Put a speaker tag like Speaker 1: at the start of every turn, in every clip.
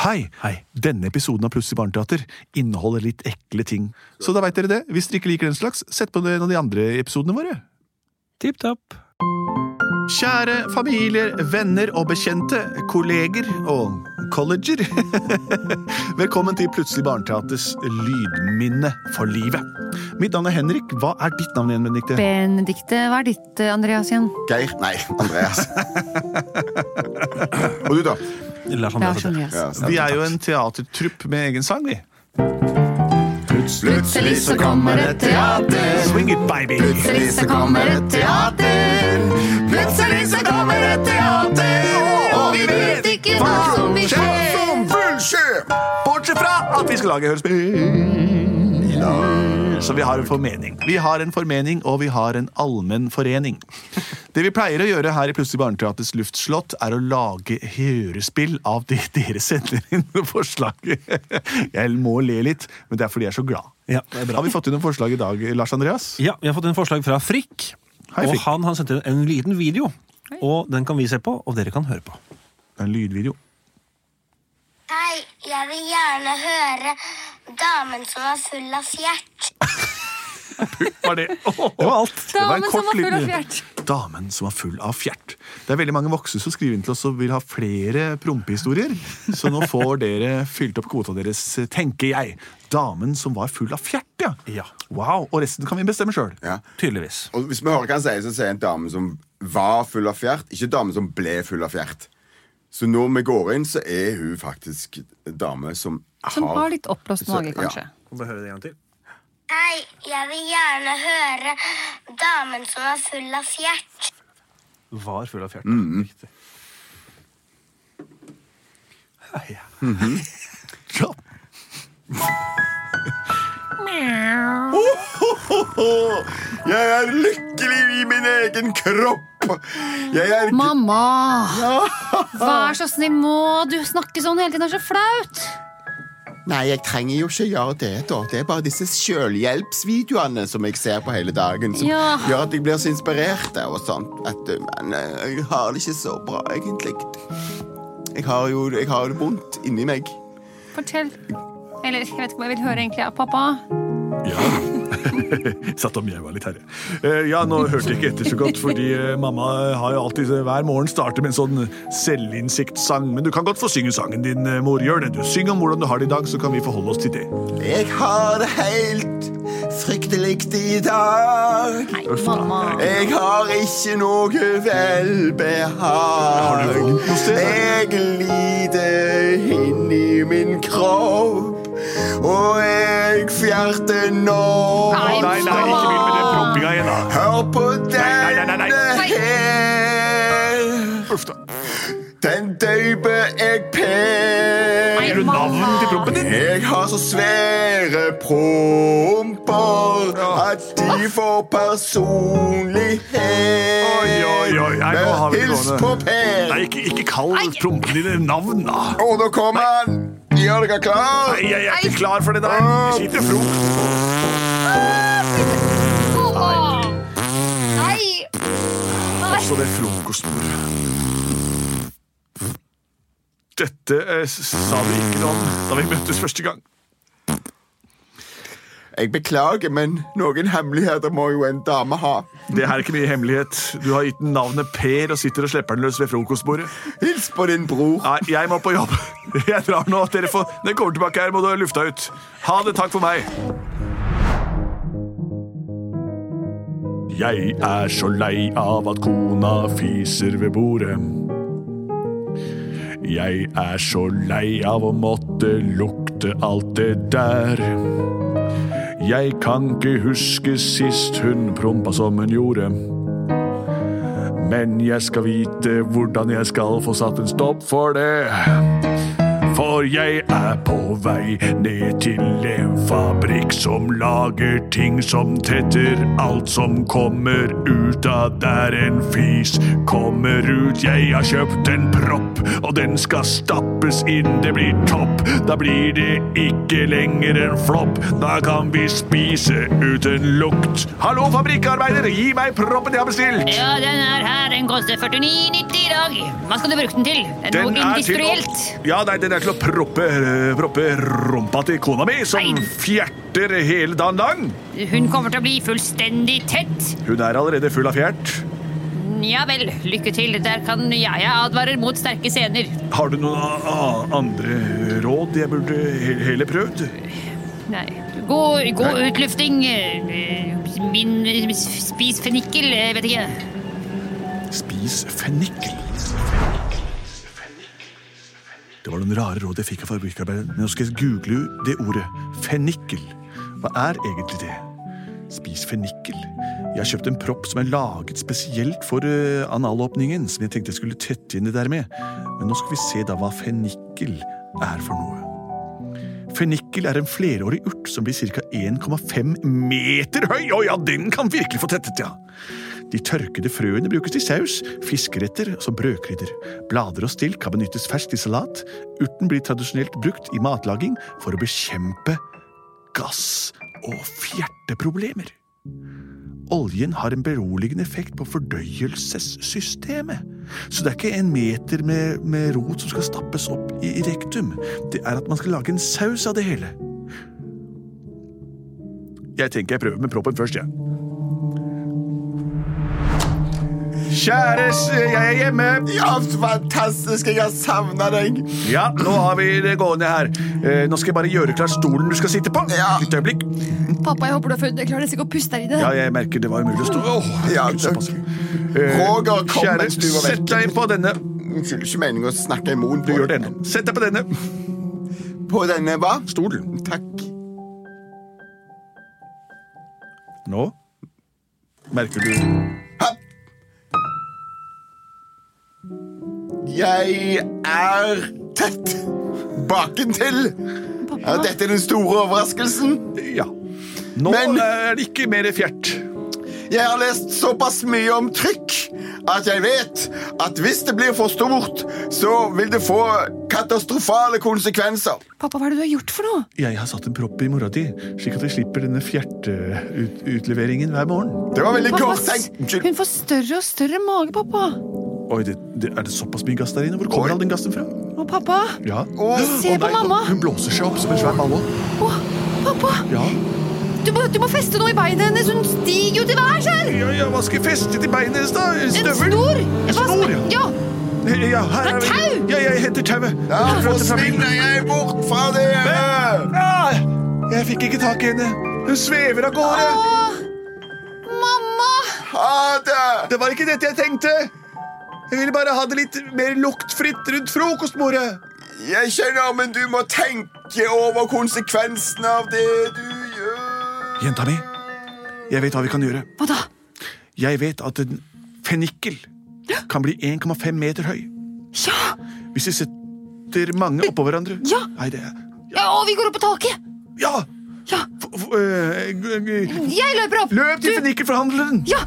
Speaker 1: Hei!
Speaker 2: Hei.
Speaker 1: Denne episoden av Plutselig barneteater inneholder litt ekle ting. Så da veit dere det. Hvis dere ikke liker den slags, sett på en av de andre episodene våre.
Speaker 2: Tipp topp.
Speaker 1: Kjære familier, venner og bekjente, kolleger og colleger. Velkommen til Plutselig barneteaters lydminne for livet. Mitt navn er Henrik. Hva er ditt navn igjen, Benedikte?
Speaker 3: Benedikte, hva er ditt, eh, Andreas, igjen?
Speaker 4: Geir? Nei, Andreas. Og du, da?
Speaker 2: Lars
Speaker 3: Ja,
Speaker 2: Andreas.
Speaker 3: Andreas.
Speaker 4: Ja,
Speaker 1: Vi er jo en teatertrupp med egen sang, vi.
Speaker 3: Plutselig så kommer et teater.
Speaker 1: Swing it, baby!
Speaker 3: Plutselig så kommer et teater. Plutselig så kommer et teater. Og vi vet ikke hva som vil skje.
Speaker 1: Bortsett fra at vi skal lage hørespill. Så vi har en formening. Vi har en formening, og vi har en allmenn forening. Det vi pleier å gjøre her i Plutselig barneteaters luftslott, er å lage hørespill av det dere sender inn med forslag. Jeg må le litt, men det er fordi jeg er så glad.
Speaker 2: Ja, det er bra.
Speaker 1: Har vi fått inn noen forslag i dag, Lars Andreas?
Speaker 2: Ja, vi har fått en forslag fra Frikk.
Speaker 1: Hei,
Speaker 2: og
Speaker 1: Frikk.
Speaker 2: han har sendt inn en liten video. Og den kan vi se på, og dere kan høre på.
Speaker 1: Det er En lydvideo.
Speaker 5: Hei, jeg vil gjerne høre damen som var full av fjert.
Speaker 1: Var det?
Speaker 2: Det var alt.
Speaker 1: Det var en
Speaker 3: Damen
Speaker 1: kort
Speaker 3: som var full av
Speaker 1: liten-
Speaker 3: fjert.
Speaker 1: Damen som var full av fjert. Det er veldig mange voksne som skriver inn til oss og vil ha flere prompehistorier. Så nå får dere fylt opp kvota deres, tenker jeg. Damen som var full av fjert, ja.
Speaker 2: Ja.
Speaker 1: Wow, Og resten kan vi bestemme sjøl.
Speaker 4: Ja.
Speaker 2: Tydeligvis.
Speaker 4: Og hvis vi hører hva han sier, så sier en dame som var full av fjert, ikke dame som ble full av fjert. Så når vi går inn, så er hun faktisk dame som har
Speaker 3: Som har litt oppblåst
Speaker 4: Så-
Speaker 3: mage,
Speaker 4: ja.
Speaker 3: kanskje.
Speaker 5: Hei, jeg vil gjerne høre damen som var full av fjert.
Speaker 2: Var full av fjert. Riktig. Ja, ja.
Speaker 1: Ja.
Speaker 4: Jeg er lykkelig i min egen kropp! Jeg er
Speaker 3: Mamma! Vær så snill, må du snakke sånn hele tiden? Det er så flaut!
Speaker 4: Nei, jeg trenger jo ikke gjøre det, da. Det er bare disse selvhjelpsvideoene som jeg ser på hele dagen, som
Speaker 3: Ja.
Speaker 4: gjør at jeg blir så inspirert og sånt. At, uh, men uh, jeg har det ikke så bra, egentlig. Jeg har jo jeg har det vondt inni meg.
Speaker 3: Fortell. Eller jeg vet ikke om jeg vil høre egentlig av pappa.
Speaker 1: Satt og mjaua litt, herre. Eh, Ja, nå hørte jeg ikke etter så godt, fordi eh, mamma har jo alltid eh, hver morgen starter med en sånn selvinnsiktssang. Men du kan godt få synge sangen din, eh, mor. Gjør det. Du syng om hvordan du har det i dag, så kan vi forholde oss til det.
Speaker 4: Jeg har det helt fryktelig i dag.
Speaker 3: Nei, mamma.
Speaker 4: Jeg har ikke noe
Speaker 1: Har
Speaker 4: velbehag.
Speaker 1: du vondt noe sted?
Speaker 4: Jeg lider inni min kropp, og jeg fjerter nå.
Speaker 3: Nei,
Speaker 1: Nei, nei, ikke begynn med den prompinga igjen, da.
Speaker 4: Hør på
Speaker 1: Nei, nei, nei, nei,
Speaker 4: denne
Speaker 1: nei.
Speaker 4: her.
Speaker 1: Uff da.
Speaker 4: Den døyper jeg pen.
Speaker 3: Nei,
Speaker 1: Gjør du navnet til prompen din?
Speaker 4: Jeg har så svære promper at de får
Speaker 1: Oi,
Speaker 4: personlighet.
Speaker 1: oi, oi, nei, nå har vi det
Speaker 4: Hils
Speaker 1: gående.
Speaker 4: på Per.
Speaker 1: Nei, ikke, ikke kall prompen din navn, da.
Speaker 4: Og nå kommer han. Gjør dere klar?
Speaker 1: Nei, jeg er ikke klar for det der. Jeg sitter fromt.
Speaker 3: Åh! Nei!
Speaker 1: Også det frokostbordet. Dette eh, s- sa vi ikke noe om da vi møttes første gang.
Speaker 4: Jeg beklager, men noen hemmeligheter må jo en dame ha.
Speaker 1: Det her er ikke mye hemmelighet. Du har gitt den navnet Per og sitter og slipper den løs ved frokostbordet.
Speaker 4: Hils på din bror.
Speaker 1: Nei, jeg må på jobb. Jeg drar nå. Dere får, når jeg kommer tilbake her, må du ha lufta ut. Ha det, takk for meg. Jeg er så lei av at kona fiser ved bordet. Jeg er så lei av å måtte lukte alt det der. Jeg kan ikke huske sist hun prompa som hun gjorde. Men jeg skal vite hvordan jeg skal få satt en stopp for det. For jeg er på vei ned til en fabrikk som lager ting som tetter alt som kommer ut av der en fis kommer ut. Jeg har kjøpt en propp, og den skal stappes inn. Det blir topp, da blir det ikke lenger en flopp. Da kan vi spise uten lukt. Hallo, fabrikkarbeider, gi meg proppen jeg har bestilt!
Speaker 6: Ja, den er her. Den koster 49,90 i dag. Hva skal du bruke den til? Det er
Speaker 1: Den
Speaker 6: noe
Speaker 1: er til å-
Speaker 6: industrielt.
Speaker 1: Ja, nei, den er til å propper, eh, propper rumpa til kona mi, som fjerter hele dagen lang.
Speaker 6: Hun kommer til å bli fullstendig tett.
Speaker 1: Hun er allerede full av fjert.
Speaker 6: Ja vel, lykke til. Der kan jeg Jeg advarer mot sterke scener.
Speaker 1: Har du noen a- a- andre råd jeg burde he heller prøvd?
Speaker 6: Nei. God, god utlufting. eh, Min Spis fennikel, jeg vet ikke.
Speaker 1: Spis fennikel. Det var noen rare råd jeg fikk av fabrikkarbeideren. Men nå skal jeg google det ordet. Fennikel. Hva er egentlig det? Spis fennikel. Jeg har kjøpt en propp som er laget spesielt for eh, analåpningen, som jeg tenkte jeg skulle tette inn det der med. Men nå skal vi se da hva fennikel er for noe. Fennikel er en flerårig urt som blir ca. 1,5 meter høy. Å ja, den kan virkelig få tettet, ja! De tørkede frøene brukes til saus, fiskeretter som brødkrydder. Blader og stilk kan benyttes ferskt i salat. Urten blir tradisjonelt brukt i matlaging for å bekjempe gass- og fjerteproblemer. Oljen har en beroligende effekt på fordøyelsessystemet. Så det er ikke en meter med, med rot som skal stappes opp i, i rektum. Det er at man skal lage en saus av det hele. Jeg tenker jeg prøver med proppen først, jeg. Kjæres, jeg er hjemme.
Speaker 4: Ja, fantastisk! Jeg har savna deg!
Speaker 1: Ja, nå har vi det gående her. Eh, nå skal jeg bare gjøre klar stolen du skal sitte på.
Speaker 4: Ja.
Speaker 1: Litt øyeblikk.
Speaker 7: Pappa, jeg håper du har funnet Jeg klarer nesten ikke å puste her inne.
Speaker 1: Ja, jeg merker det var umulig å stå. Åh,
Speaker 4: Ja,
Speaker 1: herregud, såpass.
Speaker 4: Roger, kom
Speaker 1: Eh, Kjære,
Speaker 4: mens du var vekk.
Speaker 1: sett deg på denne.
Speaker 4: Unnskyld, ikke meningen å snakke imot.
Speaker 1: Du gjør det ennå. Sett deg på denne
Speaker 4: På denne hva?
Speaker 1: stolen.
Speaker 4: Takk.
Speaker 1: Nå merker du
Speaker 4: Ha! Jeg er tett bakentil. Ja, dette er den store overraskelsen.
Speaker 1: Ja. Nå eh,
Speaker 4: Men-
Speaker 1: er det ikke mer fjert.
Speaker 4: Jeg har lest såpass mye om trykk at jeg vet at hvis det blir for stort, så vil det få katastrofale konsekvenser.
Speaker 7: Pappa, hva er det du har gjort for noe?
Speaker 1: Jeg har satt en propp i mora di, slik at vi slipper denne fjerteutleveringen hver morgen.
Speaker 4: Det var veldig
Speaker 7: Pappa,
Speaker 4: kort tenkt. Unnskyld.
Speaker 7: hun får større og større mage, pappa.
Speaker 1: Oi, det, det, Er det såpass mye gass der inne? Hvor kommer
Speaker 4: Oi.
Speaker 1: all den gassen fra?
Speaker 7: Å, pappa.
Speaker 1: Ja.
Speaker 7: Se på mamma.
Speaker 1: Hun blåser seg opp som en svær ballong.
Speaker 7: Å, pappa.
Speaker 1: Ja.
Speaker 7: Du må, du må feste noe i beinet hennes. Hun stiger jo til værs her.
Speaker 1: Ja, ja, hva skal jeg feste til beinet hennes, da?
Speaker 7: En
Speaker 1: Støvel?
Speaker 7: snor.
Speaker 1: En
Speaker 7: Hva-
Speaker 1: snor, ja.
Speaker 7: ja.
Speaker 1: ja her er vi.
Speaker 7: tau!
Speaker 1: Ja, jeg henter tauet.
Speaker 4: Da
Speaker 1: Jeg flytter fra bilen.
Speaker 4: forsvinner jeg bort fra dere.
Speaker 1: Ah, jeg fikk ikke tak i henne. Hun svever av gårde.
Speaker 7: Mamma.
Speaker 4: Ha det.
Speaker 1: Det var ikke dette jeg tenkte. Jeg ville bare ha det litt mer luktfritt rundt frokostbordet.
Speaker 4: Jeg skjønner, men du må tenke over konsekvensene av det du gjør.
Speaker 1: Jenta mi, jeg vet hva vi kan gjøre.
Speaker 7: Hva da?
Speaker 1: Jeg vet at en fennikel kan bli 1,5 meter høy.
Speaker 7: Ja.
Speaker 1: Hvis vi setter mange oppå hverandre.
Speaker 7: Ja.
Speaker 1: Nei, det er...
Speaker 7: ja. Og vi går opp på taket.
Speaker 1: Ja!
Speaker 7: Ja.
Speaker 1: F- f- øh, g- g-
Speaker 7: Jeg løper opp.
Speaker 1: Løp til
Speaker 7: Du-
Speaker 1: fennikelforhandleren!
Speaker 7: Ja.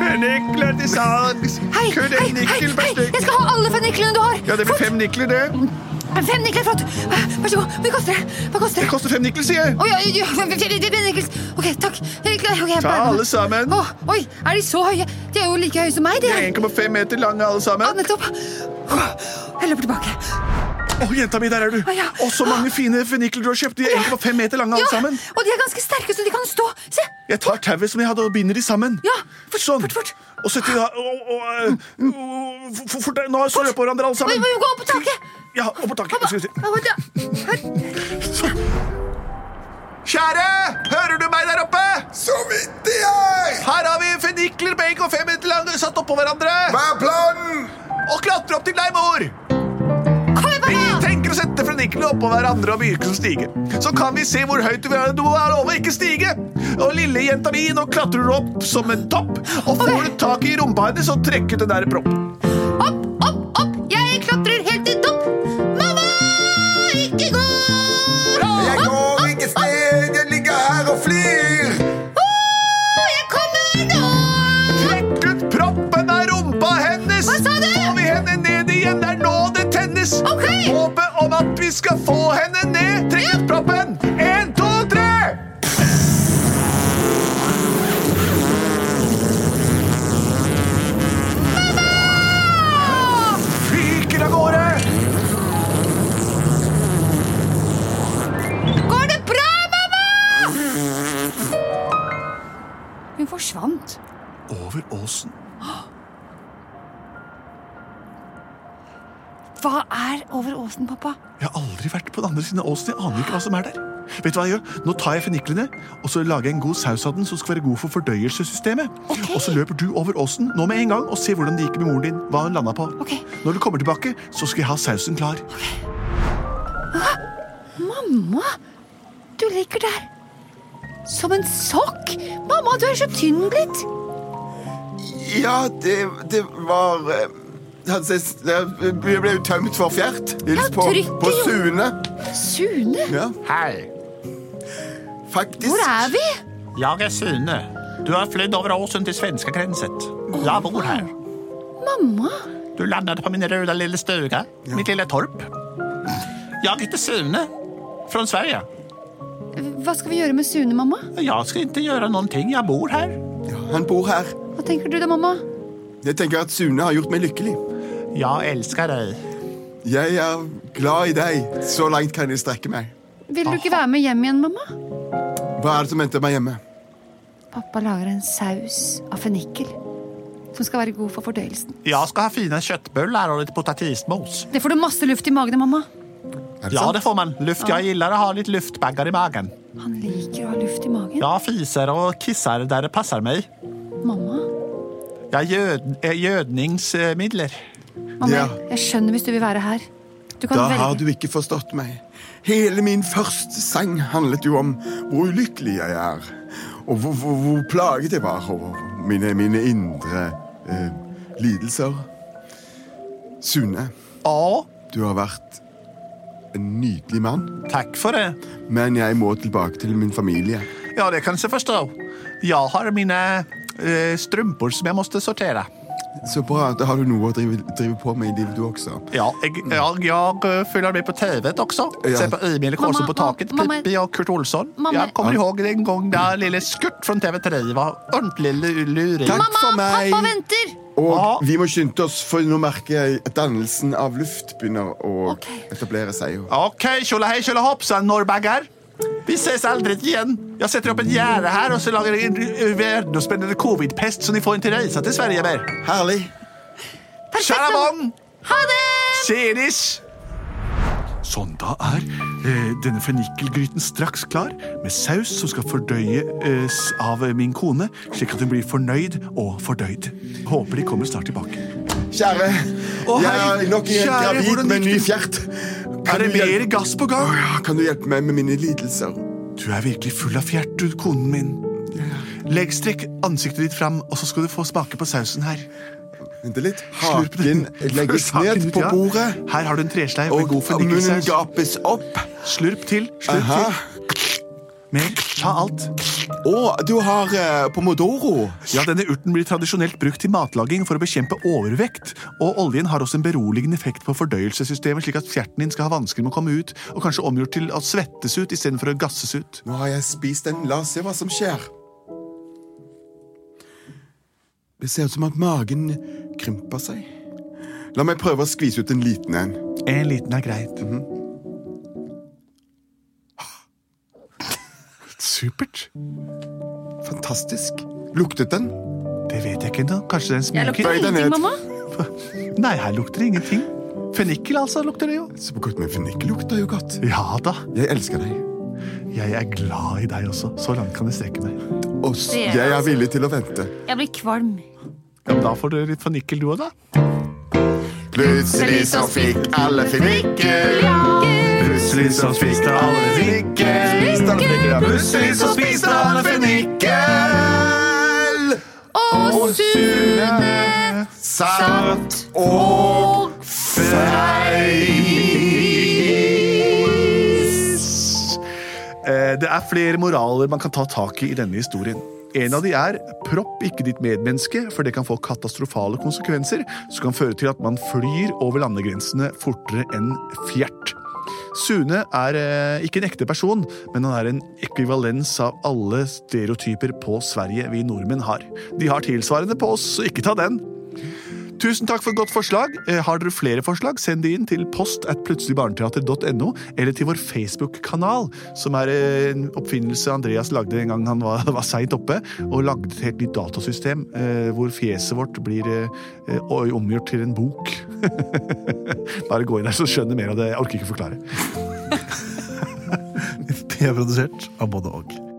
Speaker 1: Fennikler til salgs!
Speaker 7: Hei,
Speaker 1: Kun en
Speaker 7: hei, hei,
Speaker 1: nikkel per
Speaker 7: hei.
Speaker 1: stykk.
Speaker 7: Jeg skal ha alle fenniklene du har.
Speaker 1: Ja, det blir
Speaker 7: Flott.
Speaker 1: fem nikler, det.
Speaker 7: Fem nikler, flott. Vær så god. Hva koster det? Hva koster
Speaker 1: Det
Speaker 7: det?
Speaker 1: koster fem nikler, sier jeg.
Speaker 7: Å ja, ja, ja, fem nikler. Ok, takk. Ok, jeg
Speaker 1: Ta
Speaker 7: bærer meg.
Speaker 1: alle sammen.
Speaker 7: Å, oi, er de så høye? De er jo like høye som meg, de
Speaker 1: De er
Speaker 7: her.
Speaker 1: 1,5 meter lange, alle
Speaker 7: Ja,
Speaker 1: sammen.
Speaker 7: nettopp. Å, Jeg løper tilbake.
Speaker 1: Å, jenta mi, der er du.
Speaker 7: Å, ja.
Speaker 1: Å, så mange fine fennikler du har kjøpt. De er 1,5 meter lange, alle sammen.
Speaker 7: Og de er ganske sterke, så de kan stå. Se!
Speaker 1: Jeg tar tauet som jeg hadde, og binder de sammen.
Speaker 7: Ja, fort,
Speaker 1: sånn.
Speaker 7: fort, fort.
Speaker 1: Og setter da å, å, øh, å, f- f- Fort, deg. nå står de på hverandre, alle
Speaker 7: Oi,
Speaker 1: sammen.
Speaker 7: oi, gå opp på taket.
Speaker 1: Ja, opp på taket. Skal vi se.
Speaker 7: Å, ja.
Speaker 1: Kjære, hører du meg der oppe?
Speaker 4: Så vidt det er!
Speaker 1: Her har vi fennikler på 1,5 meter lange satt oppå hverandre.
Speaker 4: Hva er planen?
Speaker 1: Og klatre opp til deg, mor.
Speaker 7: Kom igjen,
Speaker 1: Vi
Speaker 7: pappa!
Speaker 1: tenker å sette fenniklene oppå hverandre og myke som stige. Så kan vi se hvor høyt du vil ha Du er over, ikke stige. Og lille jenta mi, nå klatrer du opp som en topp. Og får du tak i rumpa hennes og trekker ut den der proppen.
Speaker 7: Opp, opp, opp. Jeg klatrer helt til topp. Mamma, ikke gå!
Speaker 4: Jeg går ikke sted, jeg ligger her og flir.
Speaker 7: Å, jeg kommer nå!
Speaker 1: Trekk ut proppen av rumpa hennes.
Speaker 7: Hva sa du?
Speaker 1: Får vi henne ned igjen, det er nå det tennes.
Speaker 7: Ok.
Speaker 1: Håpet om at vi skal få henne ned. Trekk ut proppen. En, to, tre. Fyker av gårde.
Speaker 8: åsen.
Speaker 7: Hva er over åsen, pappa?
Speaker 1: Jeg har aldri vært på den andre siden av åsen. Jeg aner ikke hva som er der. Vet du hva jeg gjør? Nå tar jeg fenniklene og så lager jeg en god saus av den som skal være god for fordøyelsessystemet. Og så løper du over åsen nå med en gang og ser hvordan det gikk med moren din. hva hun landet på.
Speaker 7: Ok.
Speaker 1: Når du kommer tilbake, så skal jeg ha sausen klar.
Speaker 7: Mamma, du ligger der som en sokk. Mamma, du er så tynn blitt.
Speaker 4: Ja, det, det var eh, han ses- Jeg ble jo tømt for fjert.
Speaker 7: Ja,
Speaker 4: Hils på,
Speaker 7: trykket
Speaker 4: på
Speaker 7: jo.
Speaker 4: Sune.
Speaker 7: Sune,
Speaker 4: Ja,
Speaker 3: Hei,
Speaker 4: faktisk.
Speaker 7: hvor er vi?
Speaker 3: jeg er Sune. Du har flydd over åsen til svenskegrensen. Jeg bor her.
Speaker 7: Mamma,
Speaker 3: Du landet på min røde lille stuga, mitt lille torp. Jeg heter Sune, fra Sverige.
Speaker 7: hva skal vi gjøre med Sune, mamma?
Speaker 3: Jeg skal ikke gjøre noen ting, jeg bor her.
Speaker 4: Han bor her.
Speaker 7: Hva tenker du da, mamma?
Speaker 4: Jeg tenker at Sune har gjort meg lykkelig.
Speaker 3: Jeg elsker deg.
Speaker 4: Jeg er glad i deg. Så langt kan jeg strekke meg.
Speaker 7: Vil du ikke være med hjem igjen, mamma?
Speaker 4: Hva er det som venter meg hjemme?
Speaker 7: Pappa lager en saus av fennikel som skal være god for fordøyelsen.
Speaker 3: Jeg skal ha fine kjøttbullar og litt potatismos.
Speaker 7: Det får du masse luft i magen av, mamma.
Speaker 4: Er det
Speaker 3: Ja,
Speaker 4: sant?
Speaker 3: det får man. Luft, jeg liker å ha litt luftbagger i magen.
Speaker 7: Han liker å ha luft i magen.
Speaker 3: Jeg fiser og kisser der det passer meg.
Speaker 7: Mamma,
Speaker 3: Jeg gjød, eh, gjødningsmidler.
Speaker 7: mamma
Speaker 4: Ja.
Speaker 7: jeg- jeg skjønner hvis du vil være her. Du kan
Speaker 4: Da
Speaker 7: velge.
Speaker 4: har du ikke forstått meg. Hele min første sang handlet jo om hvor ulykkelig jeg er. Og hvor, hvor, hvor plaget jeg var over mine, mine indre eh, lidelser. Sune,
Speaker 3: Ja,
Speaker 4: du har vært en nydelig mann,
Speaker 3: takk for det.
Speaker 4: men jeg må tilbake til min familie.
Speaker 3: Ja, det kan jeg forstå. Jeg har mine eh, strumper som jeg måtte sortere.
Speaker 4: Så bra, da har du noe å drive, drive på med i livet du også.
Speaker 3: Ja, jeg, jeg, jeg følger med på TV også.
Speaker 4: Ja.
Speaker 3: Ser på Emil Kårsen
Speaker 7: Mamma,
Speaker 3: på taket,
Speaker 7: mamma, mamma.
Speaker 3: Pippi og Kurt Olsson.
Speaker 7: Mamma.
Speaker 3: Jeg kommer ihåg en gang da lille Skurt fra TV3 var ordentlig lu- lurig.
Speaker 4: Takk
Speaker 7: Mamma,
Speaker 4: for meg!
Speaker 7: pappa venter!
Speaker 4: Og
Speaker 3: Ja.
Speaker 4: vi må skynde oss, for nå merker jeg at dannelsen av luft begynner å
Speaker 7: Ok.
Speaker 4: etablere seg.
Speaker 3: Ok, tjolahei, tjolahoppsan, norrbagger. Vi ses aldri igjen. Jeg setter opp et gjerde her, og så lager jeg en u-
Speaker 1: eh,
Speaker 3: verdensomspennende covid-pest, så dere får ikke reise til Sverige mer.
Speaker 4: Herlig!
Speaker 3: Shalabong!
Speaker 7: Ha det!
Speaker 3: Senis!
Speaker 1: Sånn, da er eh, denne fennikelgryten straks klar, med saus som skal fordøyes av eh, min kone, slik at hun blir fornøyd og fordøyd. Håper de kommer snart tilbake.
Speaker 4: Kjære,
Speaker 1: Å, hei.
Speaker 4: jeg er nok igjen
Speaker 1: Kjære,
Speaker 4: gravid
Speaker 1: hvordan
Speaker 4: med en ny
Speaker 1: gikk det?
Speaker 4: fjert.
Speaker 1: Er det
Speaker 4: du hjelpe-
Speaker 1: mer gass på gang?
Speaker 4: Åh, kan du hjelpe meg med mine lidelser?
Speaker 1: Du er virkelig full av fjert, du, konen min. Legg strekk ansiktet ditt fram, og så skal du få smake på sausen her.
Speaker 4: Vent litt.
Speaker 1: Slurp den.
Speaker 4: Haken legges
Speaker 1: Haken
Speaker 4: ned
Speaker 1: ut,
Speaker 4: på
Speaker 1: ja.
Speaker 4: bordet,
Speaker 1: Her har du en tresleiv med
Speaker 4: og
Speaker 1: god
Speaker 4: munnen
Speaker 1: fennikelsaus.
Speaker 4: gapes opp.
Speaker 1: Slurp til. Slurp
Speaker 4: Aha.
Speaker 1: til. Mer. Ta alt.
Speaker 4: Og du har eh, pomodoro.
Speaker 1: Ja, Denne urten blir tradisjonelt brukt til matlaging for å bekjempe overvekt. Og oljen har også en beroligende effekt på fordøyelsessystemet, slik at fjerten din skal ha vansker med å komme ut, og kanskje omgjort til å svettes ut istedenfor å gasses ut.
Speaker 4: Nå har jeg spist den. La oss se hva som skjer. Det ser ut som at magen krymper seg. La meg prøve å skvise ut en liten en. Mhm.
Speaker 1: En liten er greit. Supert.
Speaker 4: Fantastisk. Luktet den?
Speaker 1: Det vet jeg ikke ennå. Kanskje det er en
Speaker 7: Jeg
Speaker 1: sminke?
Speaker 7: lukter
Speaker 4: Bøy deg ned.
Speaker 7: ingenting, mamma.
Speaker 1: Nei, her lukter det ingenting. Fennikel, altså, lukter det jo.
Speaker 4: Så godt, men fennikel lukter jo godt.
Speaker 1: Ja da.
Speaker 4: Jeg elsker deg.
Speaker 1: Jeg er glad i deg også. Så langt kan jeg strekke meg.
Speaker 4: Og s-
Speaker 9: Det er
Speaker 4: jeg er
Speaker 9: altså-
Speaker 4: villig til å vente.
Speaker 7: Jeg blir kvalm.
Speaker 1: Ja, men da får du litt fennikel, du òg, da.
Speaker 4: Plutselig så fikk alle fennikel. Plutselig så spiste alle fennikel. Plutselig så spiste alle fennikel. Og Sune satt og feis.
Speaker 1: Eh, Det er flere moraler man kan ta tak i i denne historien. En av de er propp ikke ditt medmenneske, for det kan få katastrofale konsekvenser som kan føre til at man flyr over landegrensene fortere enn fjert. Sune er eh, ikke en ekte person, men han er en ekvivalens av alle stereotyper på Sverige vi nordmenn har. De har tilsvarende på oss, så ikke ta den. Tusen takk for et godt forslag. Eh, Har dere flere forslag, send de inn til post at plutseligbarneteater.no, eller til vår Facebook-kanal, som er eh, en oppfinnelse Andreas lagde en gang han var, var seint oppe, og lagde et helt nytt datasystem eh, hvor fjeset vårt blir eh, eh, oi- omgjort til en bok. Bare gå inn der, så skjønner mer av det. Jeg orker ikke forklare.
Speaker 10: Det er produsert av både og.